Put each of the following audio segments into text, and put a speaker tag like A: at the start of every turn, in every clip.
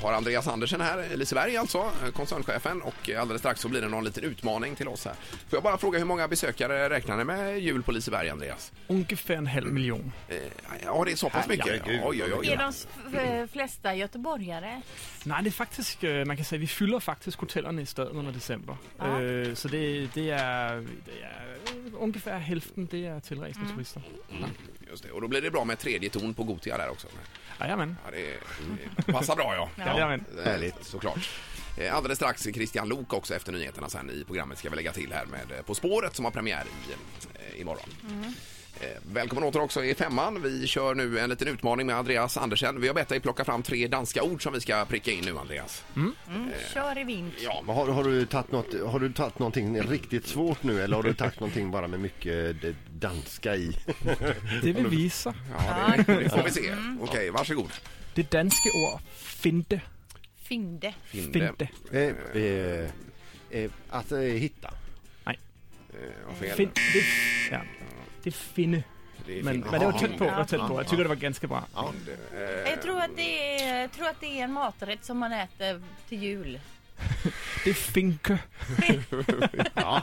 A: har Andreas Andersen här, Liseberg alltså, koncernchefen. Och alldeles strax så blir det någon liten utmaning till oss här. Får jag bara fråga hur många besökare räknar ni med jul på Liseberg, Andreas?
B: Ungefär en halv miljon.
A: Eh, Ja, det är så pass mycket?
C: Herregud.
A: Oj, oj, oj.
D: Är de s- f- flesta göteborgare?
B: Nej, det är faktiskt, eh, man kan säga, vi fyller faktiskt hotellen i staden under december.
D: Ja.
B: Eh, Så det, det, är, det är eh, ungefär hälften, det är tillresande turister.
A: Just det. Och då blir det bra med tredje ton på Gotia där också.
B: Jajamän.
A: Ja, det det passar bra ja.
B: Jajamän.
A: Eh, Såklart. Eh, Alldeles strax Christian Lok också efter nyheterna sen i programmet ska vi lägga till här med eh, På spåret som har premiär i, eh, imorgon. Eh, Välkommen åter också i femman. Vi kör nu en liten utmaning med Andreas Andersen. Vi har bett dig plocka fram tre danska ord som vi ska pricka in nu Andreas.
D: Mm, kör i vind.
A: Ja,
C: Har, har, du tagit något, har du tagit någonting riktigt svårt nu eller har du tagit någonting bara med mycket eh, danska i?
B: Det vill visa.
A: ja det, det får vi se. Okej, varsågod.
B: Det danska ord finte.
D: Finde.
B: Finte.
C: Eh, eh, eh, att eh, hitta.
A: Eh, vad fel.
B: Fin, det, ja. det Ah. är finne.
A: Det är
B: Men,
A: fin-
B: men det var tätt på. Det var
D: Ja.
B: tätt på. Jag tycker det var ganska bra.
A: Ja, det- eh,
D: Jag tror att, det är, jag tror att det är en maträtt som man äter till jul.
B: Det är finke.
A: ja,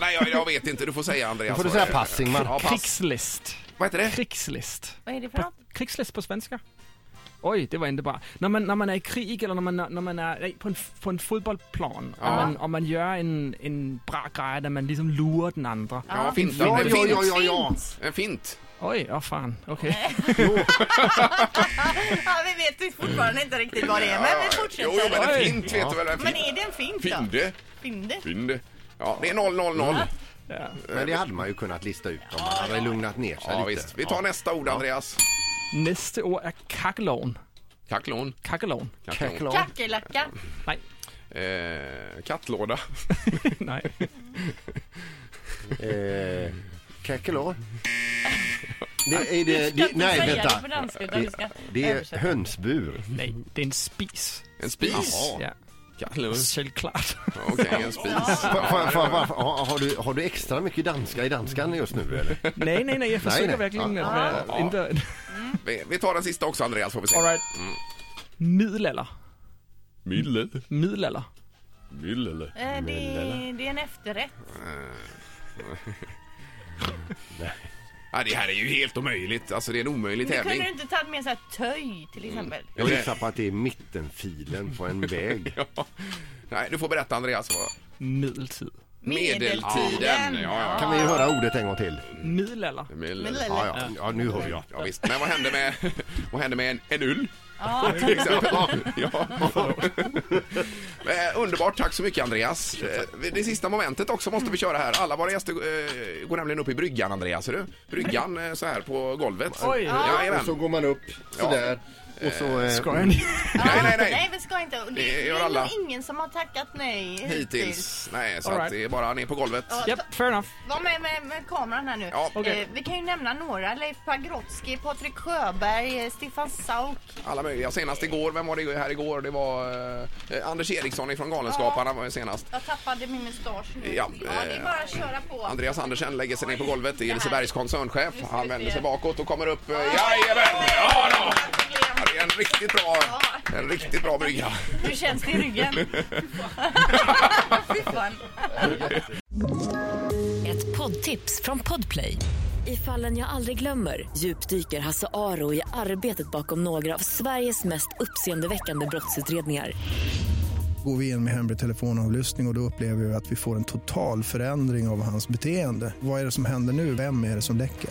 A: nej, jag, jag vet inte. Du får säga Andreas.
C: Då får du säga
A: Eh,
C: pass, Ingmar.
A: Ja, pass.
B: Krigslist.
A: Vad heter det?
B: Krigslist.
D: Vad är det för
B: På,
D: något?
B: krigslist på svenska? Oj, det var inte bra. När man, när man är i krig eller när man, när man är nej, på, en, på en fotbollsplan
A: Ja.
B: och, man, och man gör en, en bra grej där man liksom lurar den andra.
A: Ja, fint.
C: Ja,
A: En
C: ja,
A: fint.
C: ja, ja, ja.
A: En fint.
B: Oj, ja fan. Okej.
D: Ja, vi vet fortfarande inte riktigt vad det är, men vi fortsätter.
A: Jo, jo, men en
B: Oj.
A: fint vet du väl? En
D: Men
A: fint.
D: är det en fint då?
A: Finde.
D: Finde?
A: Finde. Ja, det är 000.
C: Men det hade man ju kunnat lista ut om man hade lugnat ner sig
A: Ja,
C: lite.
A: visst. Vi tar nästa ord, Andreas.
B: Nästa år är kackelån.
A: Kacklån.
B: Kackelån.
C: Kacklan.
D: Kackerlacka.
B: Nej.
A: Eh, kattlåda.
B: Nej.
C: Eh, Kackelå. Det är
D: Du
C: det,
D: ska
C: det,
D: inte
C: nej,
D: säga det
C: vänta.
D: på danska utan du ska
C: Det är
D: översätta.
C: hönsbur.
B: Nej, det är en spis.
A: En spis.
B: Ja,
A: Kattlån.
B: självklart.
A: Okej, en spis.
C: Får- får- får- får- har, har, du, har du extra mycket danska i danskan just nu eller?
B: Nej, nej, nej, jag
C: Nej,
B: försöker
C: nej.
B: verkligen
C: Ja.
B: att vara...
A: Ja.
B: Inte...
A: Vi, vi tar den sista också, Andreas, får vi se.
B: All right. Middelalder.
E: Mille,
B: Middelalder.
E: mille.
D: Eh, Det är, det är en efterrätt.
A: Ja, det här är ju helt omöjligt. Alltså, det är en omöjlig
D: Men kunde du
A: tävling.
D: inte tagit med så här töj till exempel?
C: Jag gissar på att det är mittenfilen på en väg.
A: Ja. Nej, du får berätta, Andreas. vad-
B: Medeltid.
A: Medeltiden. Ja,
C: Kan vi höra ordet en gång till?
B: Middelalder.
A: Medel-
C: Ja, ja, ja nu hör jag.
A: Ja, visst. Men vad hände med, vad hände med en, en ull?
D: Ja,
A: till exempel. ja. Eh, Underbart, tack så mycket Andreas. Eh, Det sista momentet också måste vi köra här. Alla våra gäster eh, går nämligen upp i bryggan Andreas, ser du? Bryggan eh, så här på golvet.
B: Oj.
A: Jajamän.
C: Och så går man upp sådär. Och så... eh,
B: Skojar ni?
A: Nej, nej,
D: Nej,
A: nej.
D: vi ska inte. Det,
A: Det
D: det
A: gör
D: är
A: alla.
D: nog ingen som har tackat nej
A: Hittills. Nej, så
B: All
A: att
B: right.
A: det är bara ner på golvet.
B: Japp, fair enough.
D: Var med, med, med kameran här nu.
A: Ja.
B: Okej.
D: Eh, vi kan ju nämna några. Leif Pagrotsky, Patrik Sjöberg, eh, Stefan Sauk.
A: Alla möjliga. Senast igår, vem var det här igår? Det var eh, Anders Eriksson ifrån Galenskaparna var ju senast.
D: Jag tappade min mustasch nu.
A: Ja,
D: det är
A: eh,
D: bara att köra på.
A: Andreas Andersen lägger sig ner på golvet. Det är Lisebergs koncernchef.
D: Nu ska
A: Han
D: vi
A: vänder
D: se.
A: sig bakåt och kommer upp. eh, Jajamän! Ja, då! Ja, det är en riktigt bra, en riktigt bra brygga.
D: Hur känns det i ryggen? Fy fan.
F: Ett poddtips från Podplay. I fallen jag aldrig glömmer djupdyker Hasse Aro i arbetet bakom några av Sveriges mest uppseendeväckande brottsutredningar.
G: Går vi in med hemlig telefonavlyssning och, och då upplever vi att vi får en total förändring av hans beteende. Vad är det som händer nu? Vem är det som läcker?